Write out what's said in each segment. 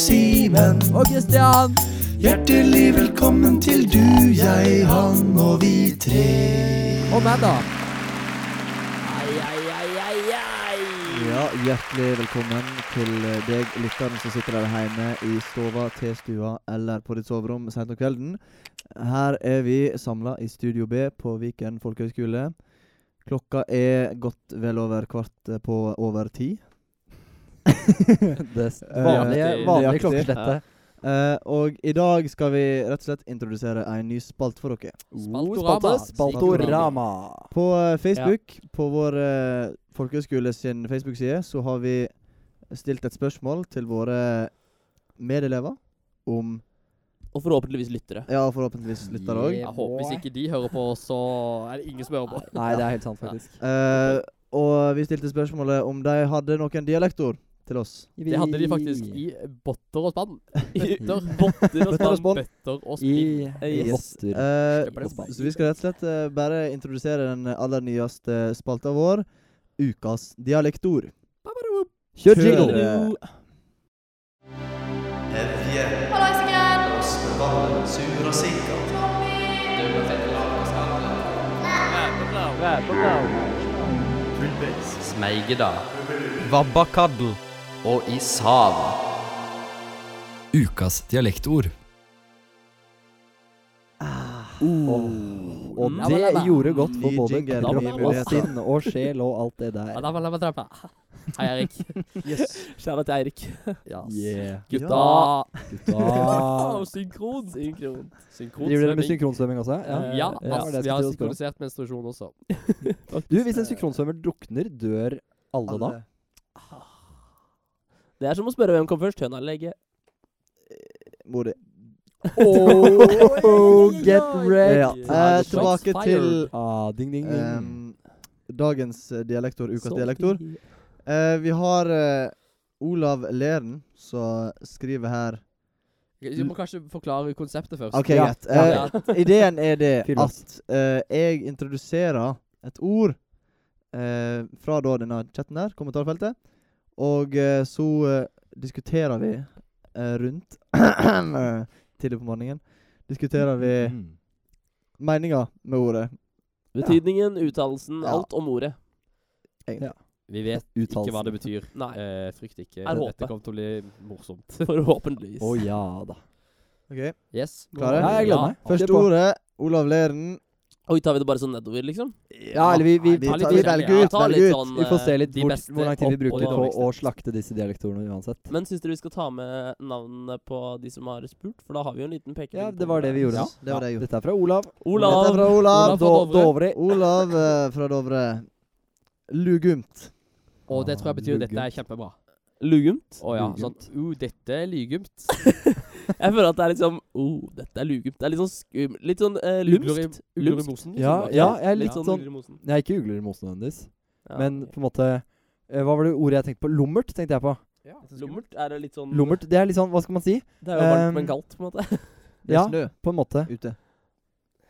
Simen. Og Kristian. Hjertelig velkommen til du, jeg, han og vi tre. Og meg, da. Ai, ai, ai, ai, ai. Ja, hjertelig velkommen til eh, deg, lytteren som sitter der hjemme i stova, T-stua eller på ditt soverom sent om kvelden. Her er vi samla i Studio B på Viken folkehøgskole. Klokka er godt vel over kvart eh, på over ti. Det s- Eh, vanlige, nøyaktig. vanlige Nøyaktig. klokkeslettet. Eh, og i dag skal vi rett og slett introdusere en ny spalt for dere. Spaltorama. Spaltorama. På eh, Facebook, på vår eh, folkehøgskole sin Facebook-side, så har vi stilt et spørsmål til våre medelever om Og forhåpentligvis lyttere. Ja, forhåpentligvis lytter òg. Yeah. Jeg håper Hvis ikke de hører på, så er det ingen som hører på. Nei, det er helt sant, faktisk. Eh, og vi stilte spørsmålet om de hadde noen dialektord til oss. Det hadde de faktisk i botter og spann. Bøtter, botter og Bøtter og spann, spann. bøtter og I spinn. i Yes. votter. Eh, Slipper det på. så vi skal rett og slett eh, bare introdusere den aller nyeste spalta vår, Ukas dialektord. Kjør jingle. jingle! Evje, Hallaisiken! Åsnevallen, sur og sikker. Fullbase. Smeigedal, Vabbakaddel og Ishav. Ukas dialektord. Og Mm. det gjorde godt for Ny både jingle, nye kropp og muligheter. sinn og sjel og alt det Ja, der. da var det med trappa. Hei, Eirik. Kjære til Eirik. Yeah. Gutta. Da Wow, synkron. Synkron. synkron Driver dere med synkronsvømming også? Ja, altså, Ja, det var det vi jeg skulle til har å spørre om. synkronisert menstruasjon også. Du, hvis en synkronsvømmer drukner, dør altså. alle da? Alle. Det er som å spørre hvem kom først, høna eller egget. Mor di. Oh, get wrecked! Ja. eh, tilbake shots til Ah, ding, ding, ding. ehm, dagens eh, dialektord, Ukas dialektord. Eh, vi har eh, Olav Leren som skriver her Vi må kanskje forklare konseptet først. OK, Ja, greit. ja, Eh, Ja, Ideen er det Fyll at eh, jeg introduserer et ord eh, fra da denne chatten her, kommentarfeltet, og eh, så eh, diskuterer vi eh, rundt Tidlig på morgenen. Diskuterer vi meninga med ordet. Betydningen, uttalelsen, Ja. alt om ordet. Vi vet ikke hva det betyr. Nei. Eh, frykt ikke. Er håpet. Dette kommer til å bli morsomt. Forhåpentligvis. Å ja da. Ok, Yes. Klare? Ja, jeg gleder meg. Første Kjør på. ordet Olav Leren. Oi, tar vi det bare sånn nedover, liksom? Ja, eller vi, vi, vi, ta tar- litt vi ut. velger Ja, ut. ta litt Velger ut. sånn Vi får se eh, litt de hvor, beste hvor lang tid vi opp og bruker de på å dårligste. slakte disse dialektorene uansett. Men syns dere vi skal ta med navnene på de som har spurt? For da har vi jo en liten pekepinn. Ja, på det var det vi gjorde. Ja, det var det jeg gjorde. Dette er fra Olav. Olav. Dette er fra Olav Olav. fra Do- Dovre. Olav eh, fra Dovre. Lugumt. Og det tror jeg betyr dette er Lugumt. kjempebra. Lugumt. Å ja. Sånn Lugumt. Uh, dette er lygumt. Jeg føler at det er litt sånn Oh, dette er lugumt. Det er litt sånn skum... Litt sånn eh, Ugler i- lumskt. ugler i Lumskt. mosen, liksom. Ja, Ok. ja, jeg er litt Ja. sånn ugler i mosen. Jeg er ikke ugler i mosen nødvendigvis, Ja, men ok. på en måte eh, Hva var det ordet jeg tenkte på? Lummert, tenkte jeg på. Lummert er det litt sånn Lummert, det er litt sånn Hva skal man si? Det er jo varmt, Ehm. men kaldt, på en måte. Det er Ja. snø På en måte. ute.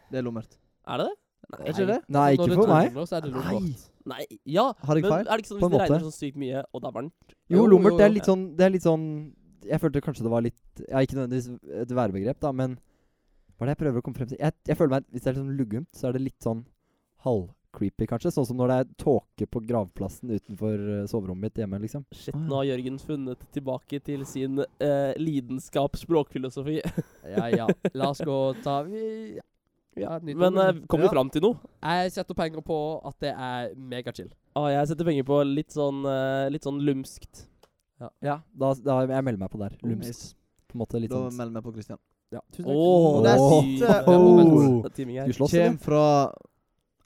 Det er lummert. Er det det? Er ikke det? Nei, Når ikke det for meg. tårner, så er det Nei. lummert. Nei. Ja. Har jeg Men feil? er det ikke sånn På hvis en det regner måte. sånn sykt mye, og det er varmt? Jo, Jo, jo, lummert, det er jo. litt sånn Det er litt sånn Jeg følte kanskje det var litt Ja, ikke nødvendigvis et værbegrep, da, men hva er det jeg prøver å komme frem til? Jeg, jeg føler meg Hvis det er litt sånn luggent, så er det litt sånn halvcreepy, kanskje. Sånn som når det er tåke på gravplassen utenfor eh, soverommet mitt hjemme, liksom. Shit, Å, ja. nå har Jørgen funnet tilbake til sin eh, lidenskap språkfilosofi. Ja, ja. La oss gå og ta vi, ja, nytt Men ord. eh, kom vi Ja. fram til noe? Jeg setter penger på at det er megachill. Ah, jeg setter penger på litt sånn, eh, litt sånn lumskt. Ja, da, da Jeg melder meg på der. Lumsk, Nice. på en måte. Litt Da sånn melder vi på Christian. Ja, tusen takk. Åh, Og det er Åh. siste Ja, Åh. det er timing her. Skal vi slåss, Kjem eller? fra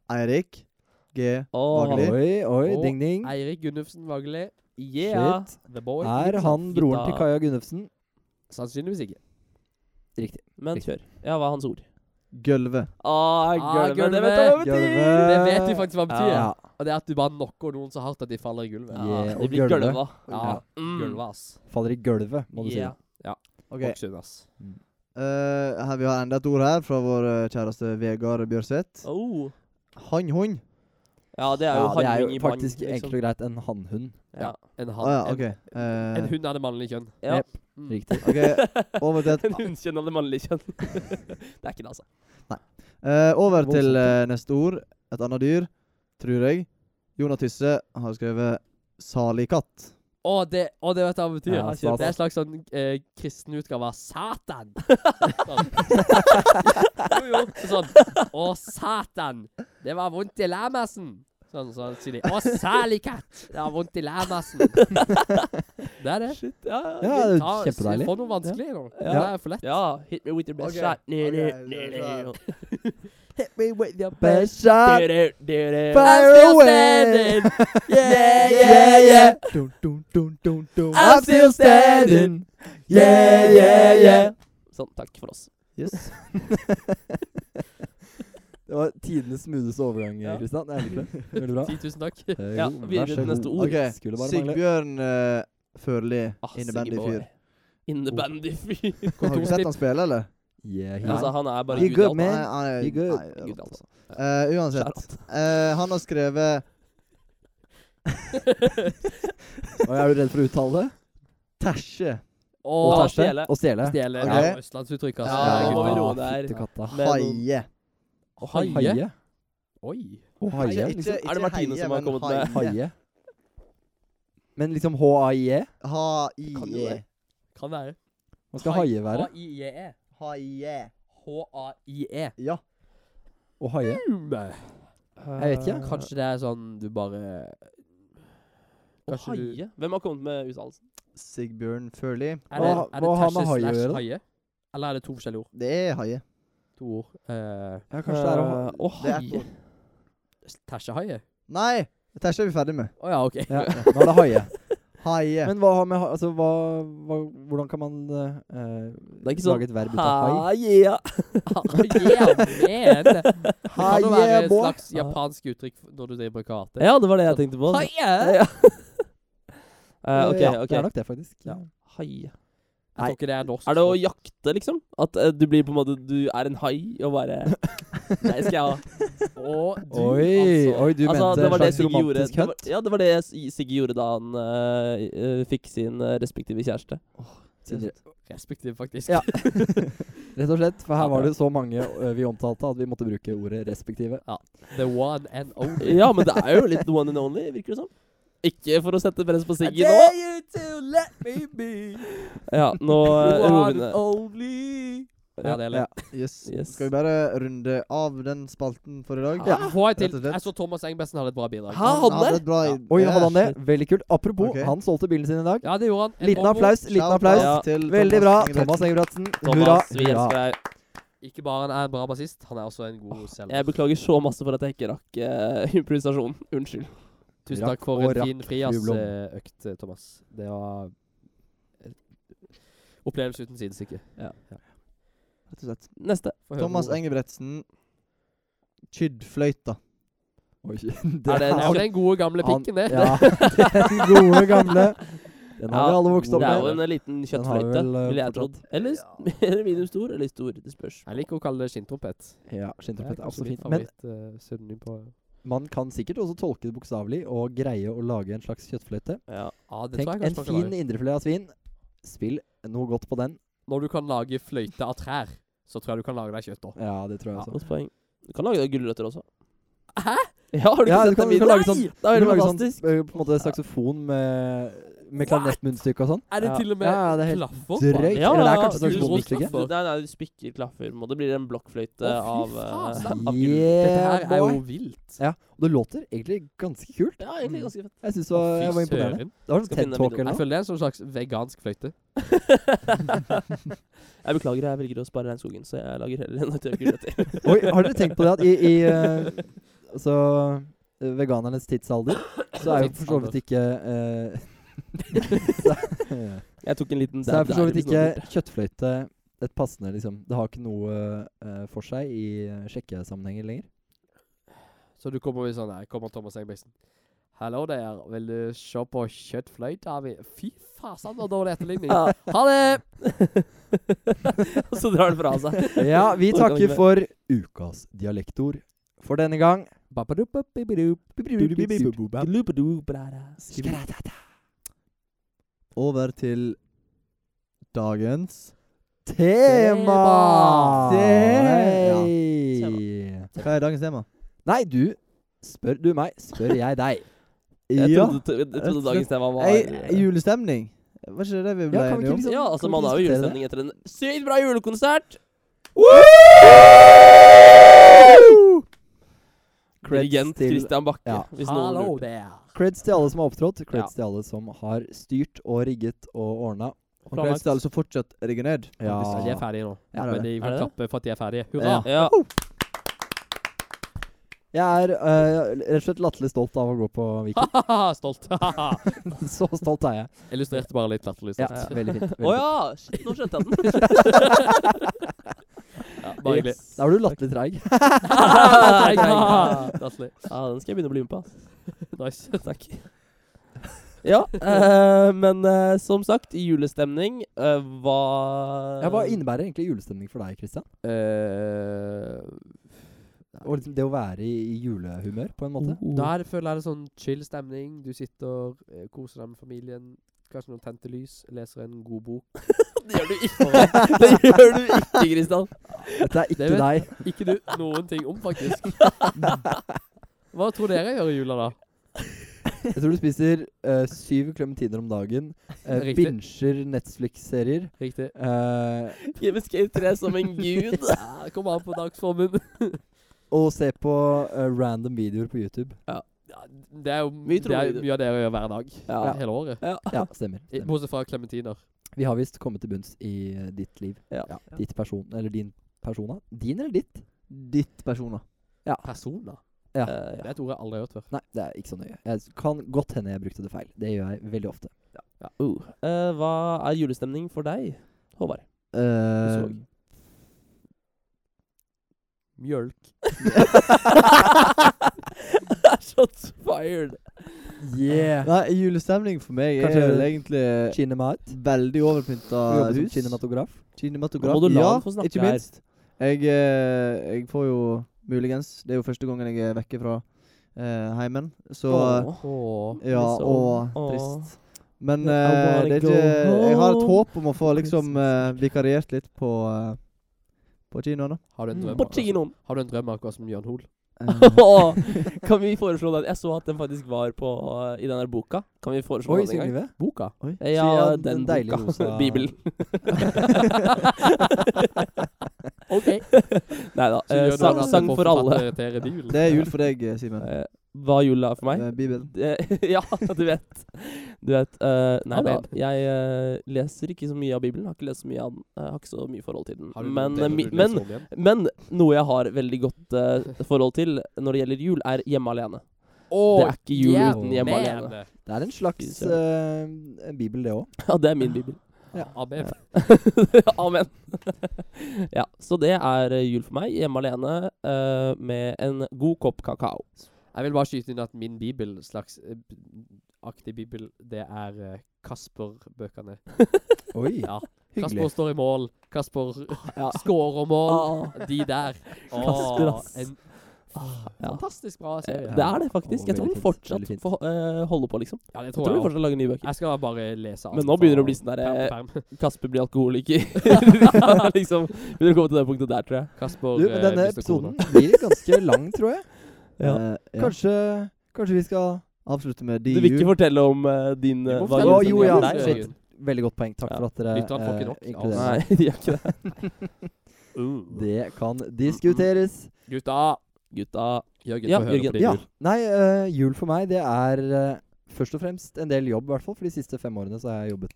Eirik G. Åh, Vagli. han- Oi, oi, Og ding, ding. Eirik Gunnufsen Vagli. yeah. Shit. The boy. Er han broren til da. Kaja Gunnufsen? Sannsynligvis ikke. Riktig. Men Riktig. kjør. Ja, hva er hans ord? Gølve. Ah, Ah, gulvet. Det gulvet. vet jeg hva betyr! Gølve. Det vet vi faktisk hva Ja. betyr. Ja. Og det er at du bare knocker noen så hardt at de faller i gulvet. Ah. Ja, Yeah, og det blir gulvet. gølva. Ja, Mm. gulvet, ass. Faller i gulvet, må du si. Yeah. da. Ok. Voksen, ass. Eh, her, vi har enda et ord her fra vår eh, kjæreste Vegard Bjørseth. Oh. Han, hun. Ja, det er jo liksom. Ja, det er handling jo i Mm. mang, faktisk enkelt og greit en hannhund. Ja. En Å han. Ah, ja, OK. en, en Eh, hund er det mannlige kjønn. Ja. Jep. Mm. Riktig. ok, Over til, et, En hundkjønn av det mannlige kjønn. det er ikke det, altså. eh, over til eh, neste ord. Et annet dyr, tror jeg. Jonah Tysse har skrevet 'salig katt'. Å, det, å, det vet jeg hva det betyr. Ja, har ikke- det er en slags sånn eh, kristen utgave av Satan. Sånn. jo, jo. Sånn. Å, Satan. Det var vondt i lamasen. Sånn, sånn sier de. Å, særlig katt. Det var vondt i lamasen. det er det. Shit, ja. Ja, ja. det er jo Ta- kjempedeilig. Få noe vanskelig nå. Ja. Det er for lett. ja. Hit me with your best Ok, shot. ok, Hit me with your best Best shot, Dere, dere. fire still away! standing. Yeah, yeah, yeah. Dun, dun, dun, dun, dun. I'm still standing. Yeah, yeah, yeah. Sånn, takk for oss. Yes. Det var tidenes smootheste overgang, Ja. Kristian. Det er egentlig det. Veldig bra. 10 000 takk. Eh, Ja, jo, vær videre så til god. neste ord. OK. Skulle bare mangle. Sigbjørn eh, Førli, Ah, innebandy Siggy boy. fyr. Innebandy fyr. Har du sett han spille, eller? Yeah, he- Altså, han er bare You gud i good, alt. man? Nei, han er- You good? nei, det er Gud i rått, alt. altså. Eh, uansett. Eh, han har skrevet Og er du redd for å uttale det? Tæsje. Og Og tæsje? stjele. Og stjele? Stjele. Ok. Ja, Østlandsuttrykk, altså. Ja, Herregud. må vi roe Ah, der. fytti katta. Med noen- Haie. Og haie. Haie? Oi. Og haie? Ikke- Liksom. ikke Er det Martine haie, som har men kommet med Haie. Men liksom HAIE? Kan jo Haie. det. Kan være. Hva skal haie være? H-a-i-e. Haie. H-a-i-e. E. Ja. Og haie? Jeg vet ikke. Kanskje det er sånn du bare Og Kanskje du- haie? Hvem har kommet med uttalelsen? Sigbjørn Førli. Er det, Hva- er det hva har med tæsje haie å slash gjøre, da? haie? Eller er det to forskjellige ord? Det er haie. To ord. Eh, Ja, kanskje det er å ha Eh, og Det er haie. Tæsjehaie? Nei! Tæsje er vi ferdig med. Å ja, OK. ja, Nå er det haie. Haie. Men hva har med ha- Altså, hva, hva Hvordan kan man eh, Det er ikke lage sånn et verb ut av hai? Haie. Haie, man! Det kan jo være et boy. slags japansk uttrykk når du driver med karate. Ja, det var det jeg tenkte på. Haie! Eh, ok, ja, ok. Det er nok det, faktisk. Ja. Haie. Jeg tror ikke det er norsk. Er det å jakte, liksom? At eh, du blir på en måte Du er en hai og bare Nei, skal jeg ha Og du, Oi, altså. oi, du altså, mente det var det slags Sigge gjorde. romantisk Det var, hønt? ja, det var det S- Sigge gjorde da han eh, eh, fikk sin eh, respektive kjæreste. Sindre. Respektiv, faktisk. Ja. Rett og slett, for Ja, her var bra. det så mange ø, vi omtalte at vi måtte bruke ordet 'respektive'. The one and only. Ja, men det er jo litt one and only, virker det som. Ikke for å sette press på Sigge nå. you to let me be Ja, nå eh, roer vi ned. only. Ja, det er Ja. lett. Yes. Yes. Skal vi bare runde av den spalten for i dag? Ja. Få en Rett til. og slett. Jeg så Thomas Engbesen hadde et bra bidrag. Hæ? hadde det? et bra Ja. Oi, hadde han det? Veldig kult. Apropos, Ok. han solgte bilen sin i dag. Ja, det gjorde han. En Liten Volvo. applaus. liten applaus. Ja. Veldig bra, Thomas Engebretsen. Hurra. Thomas, vi hurra. elsker deg. Ikke bare han er en bra bassist, han er også en god selv. Ah, Jeg beklager så masse for at jeg ikke rakk eh, improvisasjonen. Unnskyld. Tusen Rakk takk for og en rakk, fin frijazzøkt, Jublom. økt, eh, Thomas. Det var eh, Opplevelse uten sidestykke. Ja. Rett og slett. Neste. Få høre Thomas eh, ordet. Engebretsen. Kyddfløyta. Oi, Er det det, det er jo den gode gamle pikken, det. Ja, den gode gamle. Den har Ja, vi alle vokst opp Det er jo med. en liten Den har vi kjøttfløyte, vel, eh, ville jeg trodd. fortsatt. Eller, s- eller medium stor, eller stor. Det spørs. Jeg liker å kalle det skinntrompet. Ja, skinntrompet er også fint. Men favoritt-pseudonym eh, på man kan sikkert også tolke det bokstavelig og greie å lage en slags kjøttfløyte. Ja. Ja, det tror Tenk en jeg kanskje man kan fin lage. indrefilet av svin. Spill noe godt på den. Når du kan lage fløyte av trær, så tror jeg du kan lage deg kjøtt òg. Ja, det tror jeg Ja. også. Godt poeng. Du kan lage gulrøtter også. Hæ? Ja, har du ikke Ja, du kan- du sett den kan videoen? lage sånn- Det Du er helt lager fantastisk. Sånn, ø, på en måte saksofon med, med klarinettmunnstykke og sånn. Er det Ja. til og med Ja, ja, det er helt klaffer? Drøyt. Ja, Eller det er ja, kanskje sånn du- saksofonmunnstykke. klaffer. Nei, nei, du spikker klaffer. må- Det blir en blokkfløyte Å, fy av, faen, eh, så av gulrøtter. Dette Yeah, her er jo boy. vilt. Og det låter egentlig ganske kult. Ja, egentlig ganske fett. Jeg synes det var, Mm. jeg var imponerende. Det var sånn Skal finne TED Talk eller videoen. Jeg noe. føler det er en sånn slags vegansk fløyte. jeg beklager, jeg velger å spare regnskogen, så jeg lager heller en tørr gulrøtter. Oi, har dere tenkt på det at i, i eh, altså, eh, veganernes tidsalder, så er jo for så vidt ikke eh, så, Jeg tok en liten så er for så dab vidt der, ikke episoden. kjøttfløyte et passende liksom. Det har ikke noe eh, for seg i eh, sjekkesammenhenger lenger. Så du kommer med sånn her, kommer Thomas Engbesen. Hallo der, vil du se på kjøttfløyta mi? Fy fasan, så dårlig etterligning. Ja. Ha det! Og så drar den fra seg. Ja, vi Orker takker ikke for ukas dialektord for denne gang. Over til dagens Tema! Tema! Hei. Hva er dagens tema? Nei, du spør du meg, spør jeg deg. Jeg trodde, jeg trodde dagens tema var Ei, julestemning. Var ikke det det vi ble kan vi enige ikke liksom om? Ja, altså, Kan vi man har jo diskutere julestemning etter en sykt bra julekonsert. Dirigent til- Christian Bakke, Ja. hvis noen Hallo lurte. der. Creds til alle som har opptrådt, creds til alle som har styrt og rigget og ordna. Og Kveitsdal som altså fortsatt rigger ned. Ja. faktisk. De er ferdige nå. Ja, det er Men de Er får det det? klappe for at de er ferdige. Hurra! Ja. Ja. Jeg er eh, rett og slett latterlig stolt av å gå på Viken. Ha-ha-ha, Stolt. Ha-ha. Så stolt er jeg. Illustrerte bare litt latterlig. Ja, stolt. veldig fint. Å ja! Shit, nå skjønte jeg den. Ja, bare hyggelig. Da var du latterlig treig. Nei, ja. Latterlig. Ja, Den skal jeg begynne å bli med på. ass. Nice. Takk. Ja, eh, men eh, som sagt, julestemning eh, hva Ja, Hva innebærer egentlig julestemning for deg, Christian? Eh, Og liksom det å være i, i julehumør, på en måte? Oh. der føler jeg det er sånn chill stemning. Du sitter, eh, koser deg med familien. Kanskje noen tente lys. Leser en god bok. Det gjør du ikke. Det gjør du ikke, Kristian. Dette er Det ikke vet- deg. Ikke du noen ting om, faktisk. Hva tror dere jeg gjør i jula, da? Jeg tror du spiser eh, syv klementiner om dagen, uh, Riktig. binsjer Netflix-serier Riktig. eh, Game Skate 3 som en gud. Ja, Kommer an på dagsformen. og ser på eh, random videoer på YouTube. Ja, det er jo Mye det er trolig. mye av det jeg gjør hver dag. Ja. Hele året. Ja, stemmer. I- stemmer. Bortsett fra klementiner. Vi har visst kommet til bunns i eh, ditt liv. Ja. Ditt person, eller din persona. Din eller ditt? Ditt personer. Personer? Ja. Eh, Det er et ord jeg aldri har hørt før. Nei, det er ikke så nøye. Jeg s- kan godt hende jeg brukte det feil. Det gjør jeg veldig ofte. Uh, eh, hva er julestemning for deg, Håvard? Eh, Sorg. Mjølk. Shots fired. Yeah! nei, julestemning for meg Kanskje- er vel egentlig Kinemat. veldig overpynta Eh, Du jobber som hus. kinematograf. Kinematograf. Nå må du la ja, han få snakke ikke her. minst. Jeg, eh, jeg får jo muligens Det er jo første gangen jeg er vekke fra eh, heimen, så Åh. Ja, liksom. og Åh. trist. Men I eh, wanna det er go ikke Jeg har et home. håp om å få liksom eh, vikariert litt på eh, På kinoen, da. Har du Mm. en drøm? På akkurat som- kinoen. Har du en drøm akkurat som Bjørn Hoel? Eh, Åh, kan vi foreslå den? Jeg så at den faktisk var på eh, i den der boka. Kan vi foreslå Oi, den en gang? Synnøve. Boka? oi. Eh, Ja, Ja, den den, deilige boka. rosa- Bibelen. OK. Nei da. Eh, Så gjør du sang, at sang jeg får for alle. forfattere til Redil. Det er jul for deg, eh, Simen. Eh, Hva jula er for meg? Eh, Bibelen. Det- ja, du vet. Du vet. eh, nei da, Amen. jeg eh, leser ikke så mye av Bibelen. Har ikke lest så mye av den. eh, har ikke så mye forhold til den. Har du noen Men, deler eh, du mi, leser men, om igjen? men noe jeg har veldig godt eh, forhold til når det gjelder jul, er Hjemme alene. Åh, det er ikke jul yeah, uten Hjemme man. alene. Det er en slags eh, en bibel, det òg. Ja, det er min bibel. Ja. Amen. Amen. ja, så det er eh, jul for meg. Hjemme alene eh, med en god kopp kakao. Jeg vil bare skyte inn at min bibel, slags eh, b- aktig bibel, det er eh, Kasper-bøkene. Oi, Ja. Kasper hyggelig. står i mål. Kasper Ja. skårer mål. Ah, De der. Åh, Kasper, ass. En ja. fantastisk bra Eh, serie. Det er det faktisk. Å, Jeg tror veldig den fint, fortsatt veldig fint. får, eh, holder på, liksom. Ja, det Jeg tror tror de jeg. også. fortsatt lager nye bøker. Jeg skal bare lese alt Men nå fra begynner det å bli sånn der, perm til perm. Kasper blir alkoholiker. liksom, Begynner å komme til det punktet der, tror jeg. Kasper Du, men eh, denne mister kona. episoden blir ganske lang, tror jeg. Ja. Eh, ja. Kanskje, kanskje vi skal Avslutte med de Du vil ikke jul. fortelle om eh, din Vi eh, må hva gjorde fortelle jo, som ja, gjorde deg? shit. Veldig godt poeng. Takk Ja. for at dere Lytterne får ikke eh, nok altså. av inkluderer oss. Nei, meg. de gjør ikke det. Det Mm, kan diskuteres. Gutta! Gutta Jørgen, Ja, få høre Jørgen. på din Ja. jul. Nei, eh, jul for meg, det er eh, først og fremst en del jobb, i hvert fall. For de siste fem årene så har jeg jobbet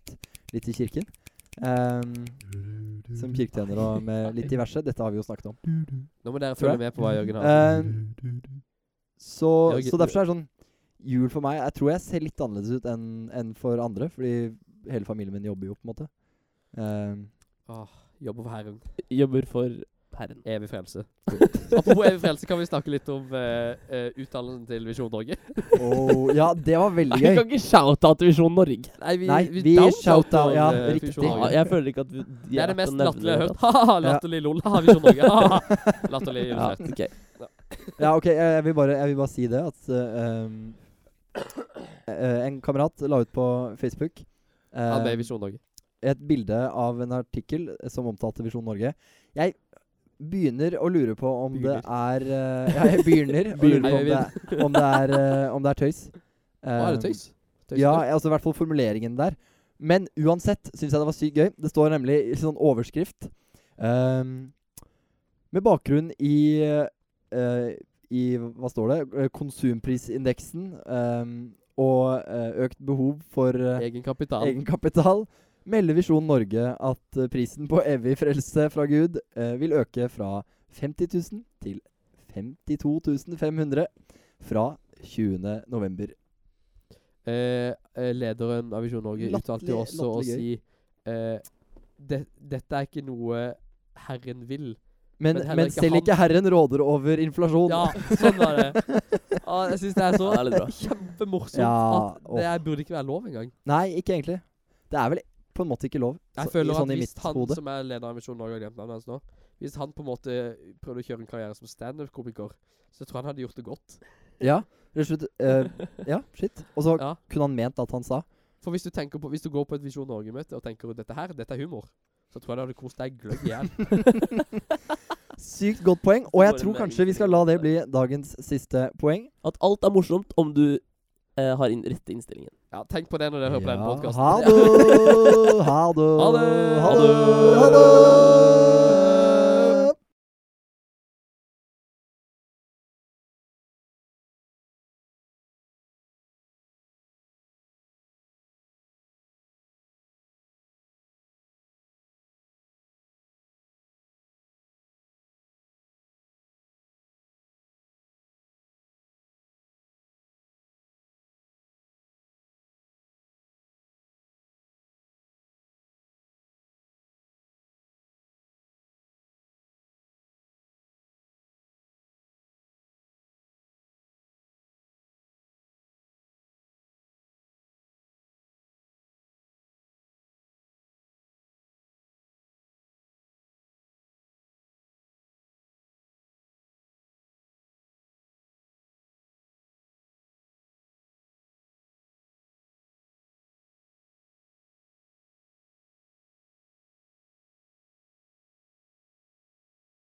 litt i kirken. Ehm, som kirketjener og med litt diverse. Dette har vi jo snakket om. Nå må dere Tror jeg. følge med på hva Jørgen har. Ehm, så, Jørgen- så derfor er det sånn Jul for meg Jeg tror jeg ser litt annerledes ut enn enn for andre, fordi hele familien min jobber jo, på en måte. Ehm, Jobber for Herren. jobber for Herren. Evig frelse. Apropos evig frelse, kan vi snakke litt om eh, eh, utdannelsen til Visjon Norge? Oh. og- ja, det var veldig Nei, Vi gøy. kan ikke shoute til Visjon Norge. Nei, vi, Nei, vi downshouter, shouter, ja, eh, riktig. Visjon Ja, Norge. jeg føler ikke at vi, de det er verdt å det mest nevne altså. latterlige det, jeg har hørt. Ha-ha, latterlig lol. Ha-ha, Visjon Norge. Ha-ha, Latterlig altså. illustrert. Ja, ok. Ja, ok, jeg, jeg, vil bare, jeg vil bare si det at eh, um, eh, En kamerat la ut på Facebook eh, Han ble i Visjon Norge. et bilde av en artikkel som omtalte Visjon Norge. Jeg begynner å lure på om Begynner. det er eh, Ja, jeg begynner å lure Begynner. på om det, om det, er, eh, om det er tøys. Å, er det Eh, tøys? Tøys Ja, eller? altså i hvert fall formuleringen der. Men uansett syns jeg det var sykt gøy. Det står nemlig i sånn overskrift ehm, Med bakgrunn i eh, I hva står det? Eh, Konsumprisindeksen ehm, og eh, økt behov for eh, Egen kapital. egenkapital melder Visjon Norge at eh, prisen på evig frelse fra Gud eh, vil øke fra 50 000 til 52 500 fra 20. november. Eh, eh, lederen av Visjon Norge uttalte jo Latterlig- også å si latterlig eh, det, Dette er ikke noe Herren vil. Men, Men men, heller ikke selv han- ikke Herren råder over inflasjon. Ja, sånn var det. Ja, jeg syns det er så Ja, det er litt bra. kjempemorsomt Ja, at det her burde ikke være lov engang. Nei, ikke egentlig. Det er vel på en måte ikke lov. Jeg så- føler i- sånn at i hvis mitt han hode. som er leder av Visjon Norge, har glemt navnet hans nå Hvis han på en måte prøvde å kjøre en karriere som standup-komiker, så tror jeg han hadde gjort det godt. Ja, rett og slett. eh, ja, shit. Og så Ja. kunne han ment at han sa For hvis du, tenker på, hvis du går på et Visjon Norge-møte og tenker at dette her, dette er humor, så tror jeg du hadde kost deg gløgg igjen. Sykt godt poeng, og jeg Bare tror med kanskje vi skal la det bli dagens siste poeng. At alt er morsomt om du eh, har inn rette innstillingen. Ja, tenk på det når dere hører på den Ja, podkasten. Ha det! Ha det! Ha det! Ha det! Ha det!